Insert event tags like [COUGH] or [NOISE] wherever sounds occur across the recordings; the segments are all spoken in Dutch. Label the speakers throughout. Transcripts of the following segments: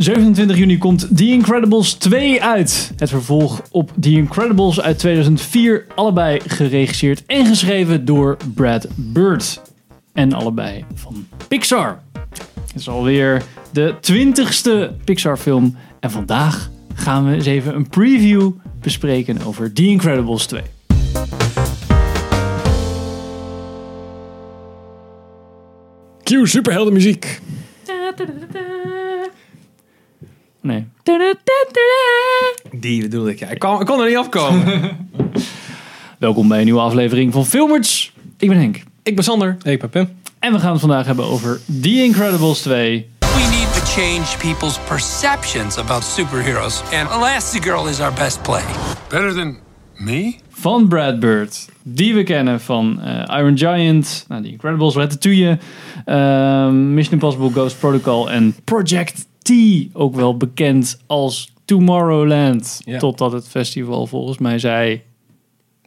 Speaker 1: 27 juni komt The Incredibles 2 uit. Het vervolg op The Incredibles uit 2004. Allebei geregisseerd en geschreven door Brad Bird. En allebei van Pixar. Het is alweer de 20ste Pixar film. En vandaag gaan we eens even een preview bespreken over The Incredibles 2.
Speaker 2: Q, superhelden muziek.
Speaker 1: Nee.
Speaker 2: Die bedoelde ik, ja. Ik kon, ik kon er niet
Speaker 3: [LAUGHS]
Speaker 2: afkomen.
Speaker 1: Welkom bij een nieuwe aflevering van Filmers. Ik ben Henk.
Speaker 2: ik ben Sander. Ik ben Pim.
Speaker 1: En we gaan het vandaag hebben over The Incredibles 2.
Speaker 4: We need to change people's perceptions about superheroes, and Elastigirl is our best play.
Speaker 5: Better than me?
Speaker 1: van Brad Bird. Die we kennen van eh, Iron Giant, nou, The Incredibles, Ratatouille, ehm Mission Impossible Ghost Protocol en Project T. Ook wel bekend als Tomorrowland.
Speaker 2: Ja.
Speaker 1: Totdat het festival volgens mij zei...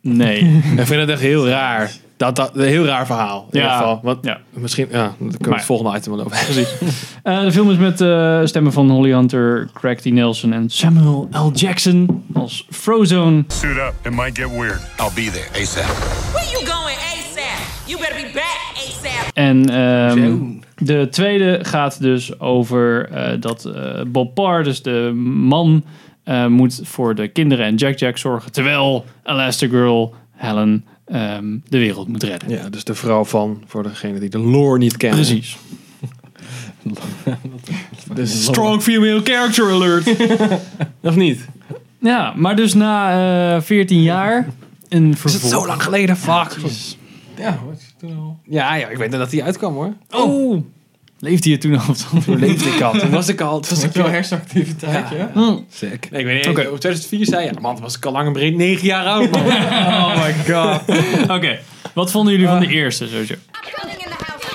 Speaker 1: Nee.
Speaker 3: Ik vind het echt heel raar. Dat, dat, een heel raar verhaal. In
Speaker 1: Ja.
Speaker 3: ieder geval. Want
Speaker 1: Ja.
Speaker 3: misschien, ja, daar kunnen we
Speaker 1: Maar-
Speaker 3: het volgende item wel over hebben.
Speaker 1: Eh, de film is met eh, stemmen van Holly Hunter, Craig T. Nelson en Samuel L. Jackson als Frozone.
Speaker 5: Suit up. It might get weird.
Speaker 4: I'll be there ASAP.
Speaker 6: Where you going ASAP? You better be back ASAP.
Speaker 1: En ehm, de tweede gaat dus over eh, dat eh, Bob Parr, dus de man, eh, moet voor de kinderen en Jack Jack zorgen. Terwijl Elastigirl, Helen, ehm, de wereld moet redden.
Speaker 3: Ja, dus de vrouw van, voor degene die de lore niet kennen.
Speaker 1: Precies.
Speaker 3: De strong female character alert. [LAUGHS] of niet?
Speaker 1: Ja, maar dus na eh 14 jaar een vervolg.
Speaker 3: Zo lang geleden, fuck.
Speaker 2: Ja, wat is toen al?
Speaker 3: Ja, ja, ik weet dat hij uitkwam hoor.
Speaker 1: Oh! Leefde je toen al? [LAUGHS]
Speaker 3: Toen leefde ik al. Toen was ik al. Toen was ik
Speaker 2: Veel
Speaker 3: al
Speaker 2: hersenactiviteit, ja.
Speaker 3: sick. Nee, ik weet niet. Oké, Op 2004 zei je, ja, man, toen was ik al lang en breed negen jaar oud. [LAUGHS] Man.
Speaker 1: Oh my
Speaker 3: [LAUGHS]
Speaker 1: god. Oké, wat vonden jullie
Speaker 2: Ah.
Speaker 1: van de eerste sowieso?
Speaker 7: Running in the house.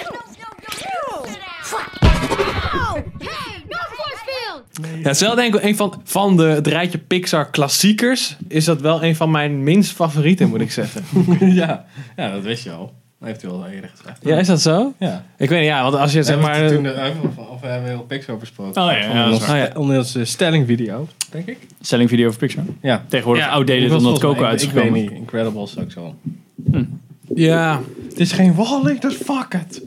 Speaker 3: Ja, het is wel denk ik een van, van de, het rijtje Pixar klassiekers. Is dat wel een van mijn minst favorieten, moet ik zeggen.
Speaker 2: ja. Ja, dat wist je al. Dat heeft hij al eerder gezegd.
Speaker 3: [LAUGHS] Ja, is dat zo?
Speaker 2: Ja.
Speaker 3: Ik weet niet, ja, want als je zeg maar...
Speaker 2: toen de, of, of we hebben heel Pixar besproken.
Speaker 1: Oh ja, ja, dat is
Speaker 2: Onder
Speaker 3: waar.
Speaker 2: ons- Ah onder onze stellingvideo, denk ik.
Speaker 1: Selling video over Pixar.
Speaker 2: Ja.
Speaker 1: Tegenwoordig
Speaker 3: Ja,
Speaker 1: outdated
Speaker 2: was
Speaker 1: omdat
Speaker 2: volgens mij-
Speaker 1: Coco uit is
Speaker 2: Ik weet
Speaker 1: gekomen.
Speaker 2: niet. Incredibles ook zo.
Speaker 3: Ja,
Speaker 2: Het is geen Wally, dus fuck it.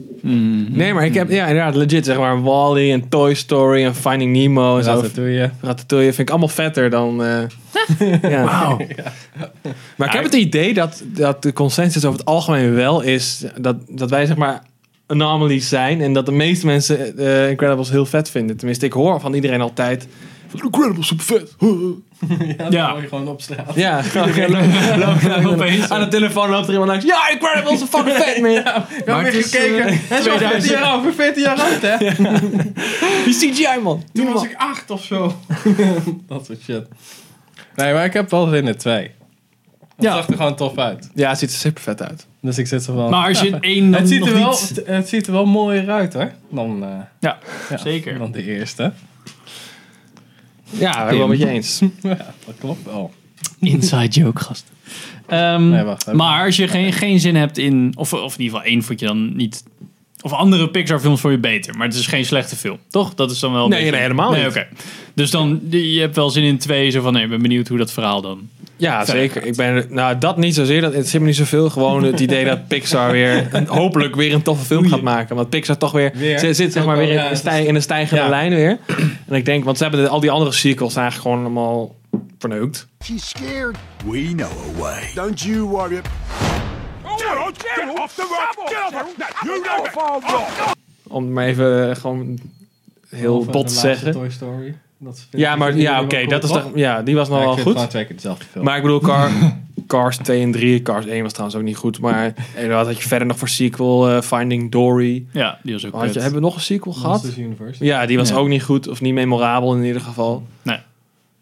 Speaker 3: nee, maar ik heb ja, inderdaad legit zeg maar Wally en Toy Story en Finding Nemo en zo.
Speaker 2: Ratatouille.
Speaker 3: Ratatouille vind ik allemaal vetter dan. eh [LAUGHS] ja. Maar ik heb het idee dat, dat de consensus over het algemeen wel is dat, dat wij zeg maar anomalies zijn en dat de meeste mensen eh, Incredibles heel vet vinden. Tenminste, ik hoor van iedereen altijd. van, Incredibles super vet.
Speaker 2: Ja,
Speaker 1: Ja.
Speaker 2: dat hoor je gewoon op
Speaker 3: [LAUGHS]
Speaker 2: straat.
Speaker 3: Ja,
Speaker 1: Opeens.
Speaker 3: aan de telefoon loopt er iemand langs. Ja, Incredibles is fucking vet, man.
Speaker 2: Ik heb weer
Speaker 1: het is,
Speaker 2: gekeken.
Speaker 1: eh,
Speaker 2: Hij is al 14 [LAUGHS] jaar oud, voor 14 jaar oud, hè? [LAUGHS]
Speaker 3: Die CGI man.
Speaker 2: Toen was ik acht of zo. [LAUGHS] dat soort shit. Nee, maar ik heb wel zin in twee. Het
Speaker 1: Ja.
Speaker 2: zag er gewoon tof uit.
Speaker 3: [LAUGHS] Ja, het ziet er super vet uit.
Speaker 2: Dus ik zit zo van...
Speaker 1: Maar als
Speaker 2: [LAUGHS]
Speaker 1: je het één dan
Speaker 2: het, ziet
Speaker 1: nog
Speaker 2: er wel,
Speaker 1: niet...
Speaker 2: het, het ziet er wel mooier uit, hoor. Dan, eh,
Speaker 1: Ja,
Speaker 2: ja, [LAUGHS]
Speaker 1: zeker.
Speaker 2: dan de eerste.
Speaker 3: Ja, ik ben ik Ah, wel met je eens.
Speaker 2: ja, dat klopt wel.
Speaker 1: Inside joke, gast. Ehm,
Speaker 2: Nee, wacht even.
Speaker 1: maar als je geen, geen zin hebt in... Of, of in ieder geval één vond je dan niet... Of andere Pixar films vond je beter. Maar het is geen slechte film, toch? Dat is dan wel... een
Speaker 3: Nee, nee, helemaal
Speaker 1: nee,
Speaker 3: niet.
Speaker 1: oké. Dus dan, je hebt wel zin in twee. Zo van, nee, ik ben benieuwd hoe dat verhaal dan...
Speaker 3: Ja, zeker. Ik ben, nou, dat niet zozeer. Dat interesseert me niet zoveel. Gewoon het idee dat Pixar weer een- hopelijk weer een toffe film gaat maken. Want Pixar toch weer,
Speaker 2: Weer.
Speaker 3: ze zit zeg maar
Speaker 2: Ook
Speaker 3: weer
Speaker 2: wel,
Speaker 3: in,
Speaker 2: ja,
Speaker 3: een stij- in een stijgende
Speaker 2: Ja.
Speaker 3: lijn weer. En ik denk, want ze hebben de- al die andere sequels eigenlijk gewoon allemaal verneukt.
Speaker 8: She's scared.
Speaker 5: We know a way.
Speaker 8: Don't you worry.
Speaker 5: Get off the rock! Get off! No, you know
Speaker 3: Om het maar even eh, gewoon heel
Speaker 2: Of, eh,
Speaker 3: bot
Speaker 2: de
Speaker 3: te
Speaker 2: laatste
Speaker 3: zeggen.
Speaker 2: Toy Story. Dat vind
Speaker 3: Ja,
Speaker 2: ik-
Speaker 3: maar
Speaker 2: die
Speaker 3: ja,
Speaker 2: wel
Speaker 3: oké.
Speaker 2: cool,
Speaker 3: dat is
Speaker 2: toch?
Speaker 3: toch, ja, die was nog
Speaker 2: Ja, ik
Speaker 3: wel
Speaker 2: vind
Speaker 3: goed.
Speaker 2: gewoon twee keer dezelfde film.
Speaker 3: Maar ik bedoel, Car,
Speaker 2: [LAUGHS]
Speaker 3: Cars 2 en 3. Cars 1 was trouwens ook niet goed. Maar eh, wat had je verder nog voor sequel? eh, Finding Dory.
Speaker 1: Ja, die was ook
Speaker 3: Oh, Had je,
Speaker 1: kut.
Speaker 3: hebben we nog een sequel gehad?
Speaker 2: Monsters Universe.
Speaker 3: Ja, die was
Speaker 1: Ja.
Speaker 3: ook niet goed. Of niet memorabel in ieder geval.
Speaker 1: Nee,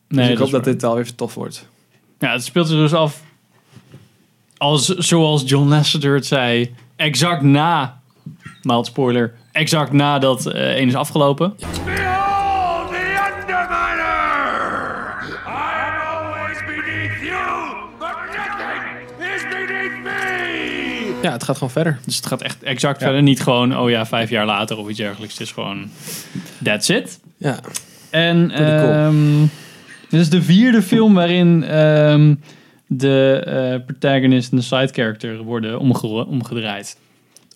Speaker 3: dus
Speaker 1: dat
Speaker 3: ik hoop
Speaker 1: is
Speaker 3: dat
Speaker 1: waar.
Speaker 3: dit alweer tof wordt.
Speaker 1: Ja, het speelt zich dus af... Als, zoals John Lasseter het zei... Exact na... Mild spoiler. Exact nadat eh één is afgelopen.
Speaker 5: Behold the Underminer! I am always beneath you, but nothing is beneath me!
Speaker 3: Ja, het gaat gewoon verder.
Speaker 1: Dus het gaat echt exact verder. Niet gewoon, oh ja, vijf jaar later of iets dergelijks. Het is gewoon, that's it.
Speaker 3: Ja.
Speaker 1: Eh, En
Speaker 2: Pretty cool.
Speaker 1: ehm, dit is de vierde film waarin ehm, de eh, protagonist en de side character worden omge- omgedraaid.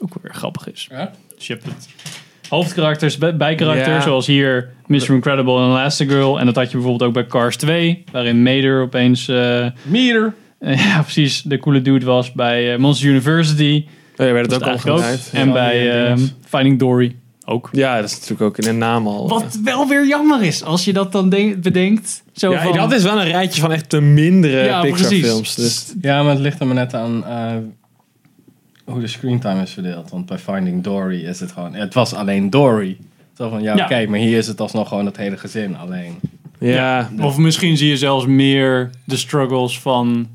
Speaker 1: Ook weer grappig is.
Speaker 2: Ja?
Speaker 1: Dus je hebt het hoofdkarakters, bij- bijkarakters,
Speaker 3: Ja.
Speaker 1: zoals hier Mr. Incredible en Elastigirl. En dat had je bijvoorbeeld ook bij Cars 2, waarin Mater opeens, eh,
Speaker 2: Meter.
Speaker 1: eh, [LAUGHS] ja precies, de coole dude was bij eh, Monsters University.
Speaker 3: Oh, ja, werd
Speaker 1: Dat
Speaker 3: het
Speaker 1: is
Speaker 3: ook al
Speaker 1: Dus eigenlijk ook.
Speaker 3: gebruikt.
Speaker 1: En
Speaker 2: Ja,
Speaker 1: bij
Speaker 2: die
Speaker 1: ehm,
Speaker 2: dinges.
Speaker 1: Finding Dory ook.
Speaker 3: Ja, dat is natuurlijk ook in de naam al. eh.
Speaker 1: Wat wel weer jammer is, als je dat dan de- bedenkt. Zo
Speaker 3: Ja,
Speaker 1: van,
Speaker 3: dat is wel een rijtje van echt de mindere
Speaker 1: Ja, precies.
Speaker 3: Pixar-films. Dus
Speaker 2: Ja, maar het ligt er maar net aan eh, hoe de screentime is verdeeld. Want bij Finding Dory is het gewoon... Het was alleen Dory. Zo van, ja,
Speaker 1: Ja.
Speaker 2: kijk, maar hier is het alsnog gewoon het hele gezin alleen.
Speaker 3: ja,
Speaker 1: Of misschien zie je zelfs meer de struggles van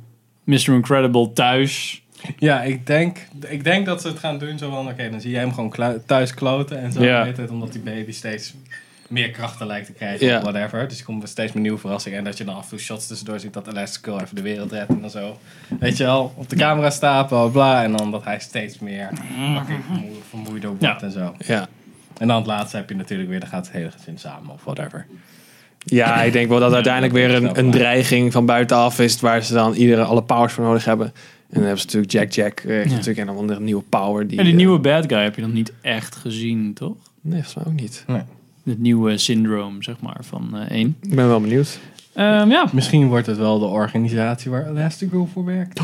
Speaker 1: Mr. Incredible thuis.
Speaker 2: Ja, ik denk, ik denk dat ze het gaan doen zo van... Oké, dan zie je hem gewoon klu- thuis kloten en zo.
Speaker 3: Ja.
Speaker 2: de hele tijd, omdat die baby steeds meer krachten lijkt te krijgen
Speaker 3: Ja.
Speaker 2: of whatever. Dus er komt steeds meer nieuwe verrassingen. En dat je dan af en toe shots tussendoor ziet dat Elastigirl even de wereld redt en dan zo. Weet je wel, op de camera stapel, bla, bla. En dan dat hij steeds meer fucking vermoe- vermoeider wordt
Speaker 1: Mhm. Ja.
Speaker 2: en zo.
Speaker 3: ja.
Speaker 2: En dan het laatste heb je natuurlijk weer, dan gaat het hele gezin samen of whatever.
Speaker 3: ja, ik denk wel dat uiteindelijk weer een, een dreiging van buitenaf is... waar ze dan iedere alle powers voor nodig hebben. En dan hebben ze natuurlijk Jack-Jack. eh, heeft
Speaker 1: Ja.
Speaker 3: natuurlijk een of andere nieuwe power. Die,
Speaker 1: En die
Speaker 3: eh,
Speaker 1: nieuwe bad guy heb je nog niet echt gezien, toch?
Speaker 3: Nee, volgens mij ook niet.
Speaker 1: Het nieuwe syndroom, zeg maar, van eh één.
Speaker 3: Ik ben wel benieuwd.
Speaker 1: Ehm, ja.
Speaker 2: Misschien wordt het wel de organisatie waar Elastigirl voor werkt.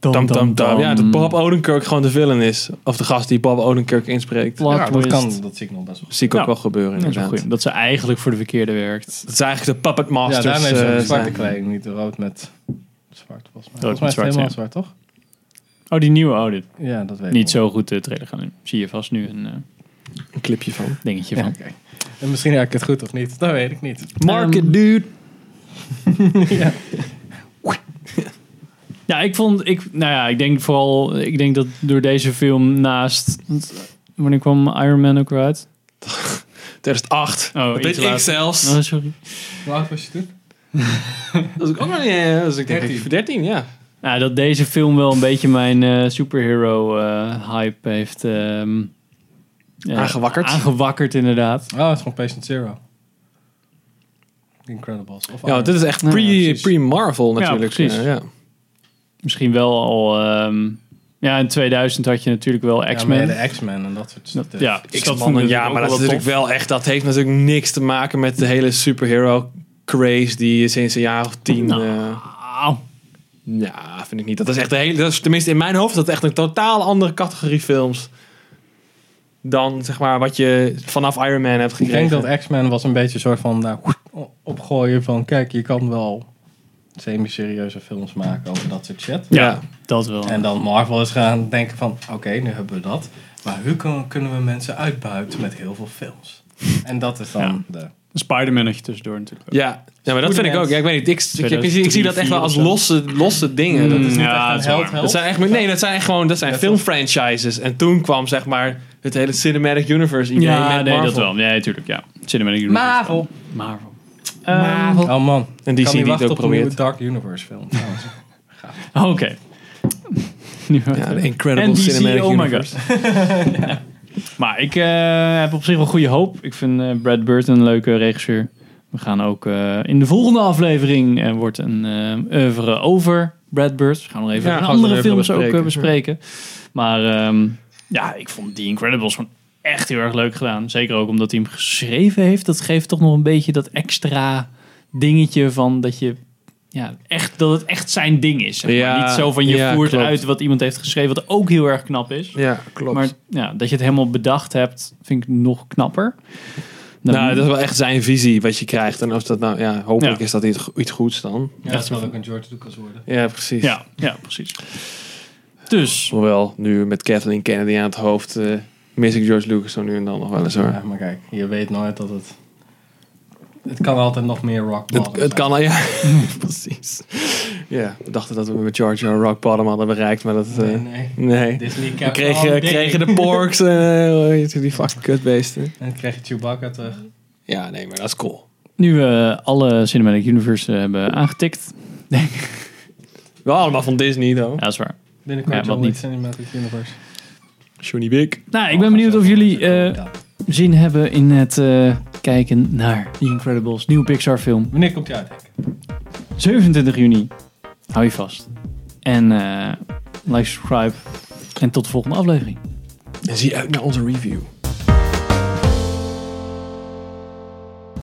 Speaker 3: Tam, tam, tam. Ja, dat Bob Odenkirk gewoon de villain is. Of de gast die Bob Odenkirk inspreekt.
Speaker 1: Plot
Speaker 2: Ja, dat
Speaker 1: twist.
Speaker 2: kan, dat zie ik nog best wel.
Speaker 3: zie ik ook
Speaker 1: Ja.
Speaker 3: wel gebeuren,
Speaker 1: Dat is wel
Speaker 3: inderdaad.
Speaker 1: goed. Dat ze eigenlijk voor de verkeerde werkt.
Speaker 3: Dat is eigenlijk de Puppet
Speaker 2: Ja,
Speaker 3: Masters.
Speaker 2: daarmee is
Speaker 3: eh,
Speaker 2: het zwarte
Speaker 3: zijn.
Speaker 2: kleding, niet rood met zwart volgens mij.
Speaker 1: Rood
Speaker 2: Volgens mij
Speaker 1: met
Speaker 2: is het
Speaker 1: zwart,
Speaker 2: helemaal
Speaker 1: ja.
Speaker 2: zwart, toch?
Speaker 1: Oh, die nieuwe audit.
Speaker 2: Ja, dat weet ik
Speaker 1: Niet
Speaker 2: nog.
Speaker 1: zo goed de trailer gaan doen. Zie je vast nu een eh,
Speaker 3: Een clipje van.
Speaker 1: dingetje
Speaker 2: Ja,
Speaker 1: van.
Speaker 2: oké. En misschien heb ik het goed of niet, dat weet ik niet.
Speaker 1: Market,
Speaker 3: Market, dude.
Speaker 1: Ja, ik vond, ik, nou ja, ik denk vooral, ik denk dat door deze film naast, want wanneer kwam Iron Man ook weer uit?
Speaker 3: 2008.
Speaker 1: Oh,
Speaker 3: dat
Speaker 1: iets
Speaker 3: weet ik
Speaker 1: later.
Speaker 3: zelfs.
Speaker 1: Oh, sorry.
Speaker 2: Hoe oud was je toen?
Speaker 3: Dat was ik ook nog niet. eh, Dat was ik denk
Speaker 2: 13.
Speaker 3: ik 13, ja.
Speaker 1: Nou, dat deze film wel een beetje mijn eh, superhero eh, hype heeft ehm, eh,
Speaker 3: Aangewakkerd.
Speaker 1: Aangewakkerd, inderdaad.
Speaker 2: Oh, het is gewoon Patient Zero. Incredibles. Of
Speaker 3: Ja, want dit is echt pre-
Speaker 1: precies.
Speaker 3: pre-Marvel natuurlijk.
Speaker 1: precies. Dus
Speaker 3: Ja, ja.
Speaker 1: Misschien wel al, ehm, ja, in 2000 had je natuurlijk wel
Speaker 2: X-Men.
Speaker 1: X-Men.
Speaker 2: de X-Men en dat soort
Speaker 1: Dat-
Speaker 2: stuff.
Speaker 1: ja,
Speaker 3: Ik
Speaker 1: dat
Speaker 3: man,
Speaker 1: vond ik
Speaker 3: ja,
Speaker 1: ook
Speaker 3: maar dat is
Speaker 1: wel
Speaker 3: natuurlijk
Speaker 1: tof.
Speaker 3: wel echt. Dat heeft natuurlijk niks te maken met de hele superhero craze die sinds een jaar of tien.
Speaker 1: Nou.
Speaker 3: eh,
Speaker 1: Au.
Speaker 3: ja, vind ik niet. Dat is echt een hele. Dat is tenminste in mijn hoofd is dat echt een totaal andere categorie films dan zeg maar wat je vanaf Iron Man hebt
Speaker 2: Ik
Speaker 3: gekregen.
Speaker 2: denk dat X-Men was een beetje een soort van nou, opgooien van kijk, je kan wel semi-serieuze films maken over dat soort shit.
Speaker 1: Ja,
Speaker 3: Ja.
Speaker 1: dat wel.
Speaker 2: En dan Marvel is gaan denken van oké, nu hebben we dat. Maar hoe kun- kunnen we mensen uitbuiten met heel veel films? En dat is dan de...
Speaker 1: Spider-Man had je tussendoor natuurlijk ook.
Speaker 3: Ja. ja, maar dat vind ik ook. Ja, ik weet niet. Ik, ik, ik, ik, zie dat echt wel als losse, losse dingen. Dat is
Speaker 1: Mm,
Speaker 3: niet
Speaker 1: ja,
Speaker 3: echt
Speaker 1: dat
Speaker 3: een
Speaker 1: is
Speaker 3: held,
Speaker 1: waar.
Speaker 3: Dat zijn echt, nee, dat zijn echt gewoon dat zijn
Speaker 2: Dat
Speaker 3: filmfranchises. En toen kwam zeg maar het hele cinematic universe idee
Speaker 1: Ja,
Speaker 3: met
Speaker 1: nee,
Speaker 3: Marvel.
Speaker 1: dat wel. Nee, tuurlijk, ja. Cinematic Universe.
Speaker 2: Marvel.
Speaker 1: Marvel.
Speaker 2: Oh man.
Speaker 3: En die zie
Speaker 2: Ik kan niet
Speaker 3: die het
Speaker 2: wachten
Speaker 3: ook
Speaker 2: op een nieuwe
Speaker 3: probeert.
Speaker 2: Dark Universe film. trouwens.
Speaker 1: Ah, Oké. Nu wordt
Speaker 3: Ja,
Speaker 1: het.
Speaker 3: de Incredible
Speaker 1: en DC,
Speaker 3: Cinematic
Speaker 1: oh my
Speaker 3: Universe.
Speaker 1: god. [LAUGHS] Ja. Maar ik eh, heb op zich wel goede hoop. Ik vind eh, Brad Burton een leuke regisseur. We gaan ook eh, in de volgende aflevering eh, wordt een eh oeuvre over Brad Bird. We gaan nog even
Speaker 3: Ja,
Speaker 1: een
Speaker 3: gaan we
Speaker 1: andere
Speaker 3: even
Speaker 1: films ook eh,
Speaker 3: bespreken.
Speaker 1: bespreken. Maar ehm, ja, ik vond The Incredibles gewoon echt heel erg leuk gedaan. Zeker ook omdat hij hem geschreven heeft. Dat geeft toch nog een beetje dat extra dingetje van dat je... Ja, echt, dat het echt zijn ding is. zeg maar.
Speaker 3: Ja,
Speaker 1: Niet zo van je
Speaker 3: ja,
Speaker 1: voert
Speaker 3: klopt.
Speaker 1: uit wat iemand heeft geschreven, wat ook heel erg knap is.
Speaker 3: Ja, klopt.
Speaker 1: Maar ja, dat je het helemaal bedacht hebt, vind ik nog knapper. Dan-
Speaker 3: nou, dat is wel echt zijn visie wat je krijgt. En of dat nou, ja, hopelijk
Speaker 1: Ja.
Speaker 3: is dat iets, iets goeds dan.
Speaker 2: Ja, dat zal ook een George Lucas worden.
Speaker 3: Ja, precies.
Speaker 1: ja, ja, precies. Dus,
Speaker 3: Hoewel, nu met Kathleen Kennedy aan het hoofd, eh mis ik George Lucas zo nu en dan nog wel eens hoor.
Speaker 2: Ja, maar kijk, je weet nooit dat het... Het kan altijd nog meer rock bottom
Speaker 3: Het, het
Speaker 2: zijn.
Speaker 3: kan al, ja. [LAUGHS] Precies. Ja, we dachten dat we met Jar Jar Rock Bottom hadden bereikt, maar dat... eh,
Speaker 2: Nee,
Speaker 3: nee,
Speaker 2: nee. Disney
Speaker 3: We
Speaker 2: kept
Speaker 3: kregen,
Speaker 2: on
Speaker 3: kregen
Speaker 2: digging.
Speaker 3: de porks en eh, hoe heet die fucking kutbeesten.
Speaker 2: En dan krijg je Chewbacca terug.
Speaker 3: Ja, nee, maar dat is cool.
Speaker 1: nu we alle Cinematic Universe eh, hebben aangetikt.
Speaker 3: Wel allemaal van Disney, though.
Speaker 1: Ja, dat is waar.
Speaker 2: Binnenkort
Speaker 1: Ja,
Speaker 2: ja,
Speaker 1: wat
Speaker 2: John Wick
Speaker 1: niet.
Speaker 2: Cinematic Universe.
Speaker 3: Johnny Big.
Speaker 1: Nou, ik ben benieuwd of jullie eh,
Speaker 2: Ja.
Speaker 1: zin hebben in het eh, kijken naar The Incredibles, nieuwe Pixar film.
Speaker 2: Wanneer komt hij uit? Henk?
Speaker 1: 27 juni. Hou je vast. En eh, like, subscribe. En tot de volgende aflevering.
Speaker 3: En zie uit naar onze review.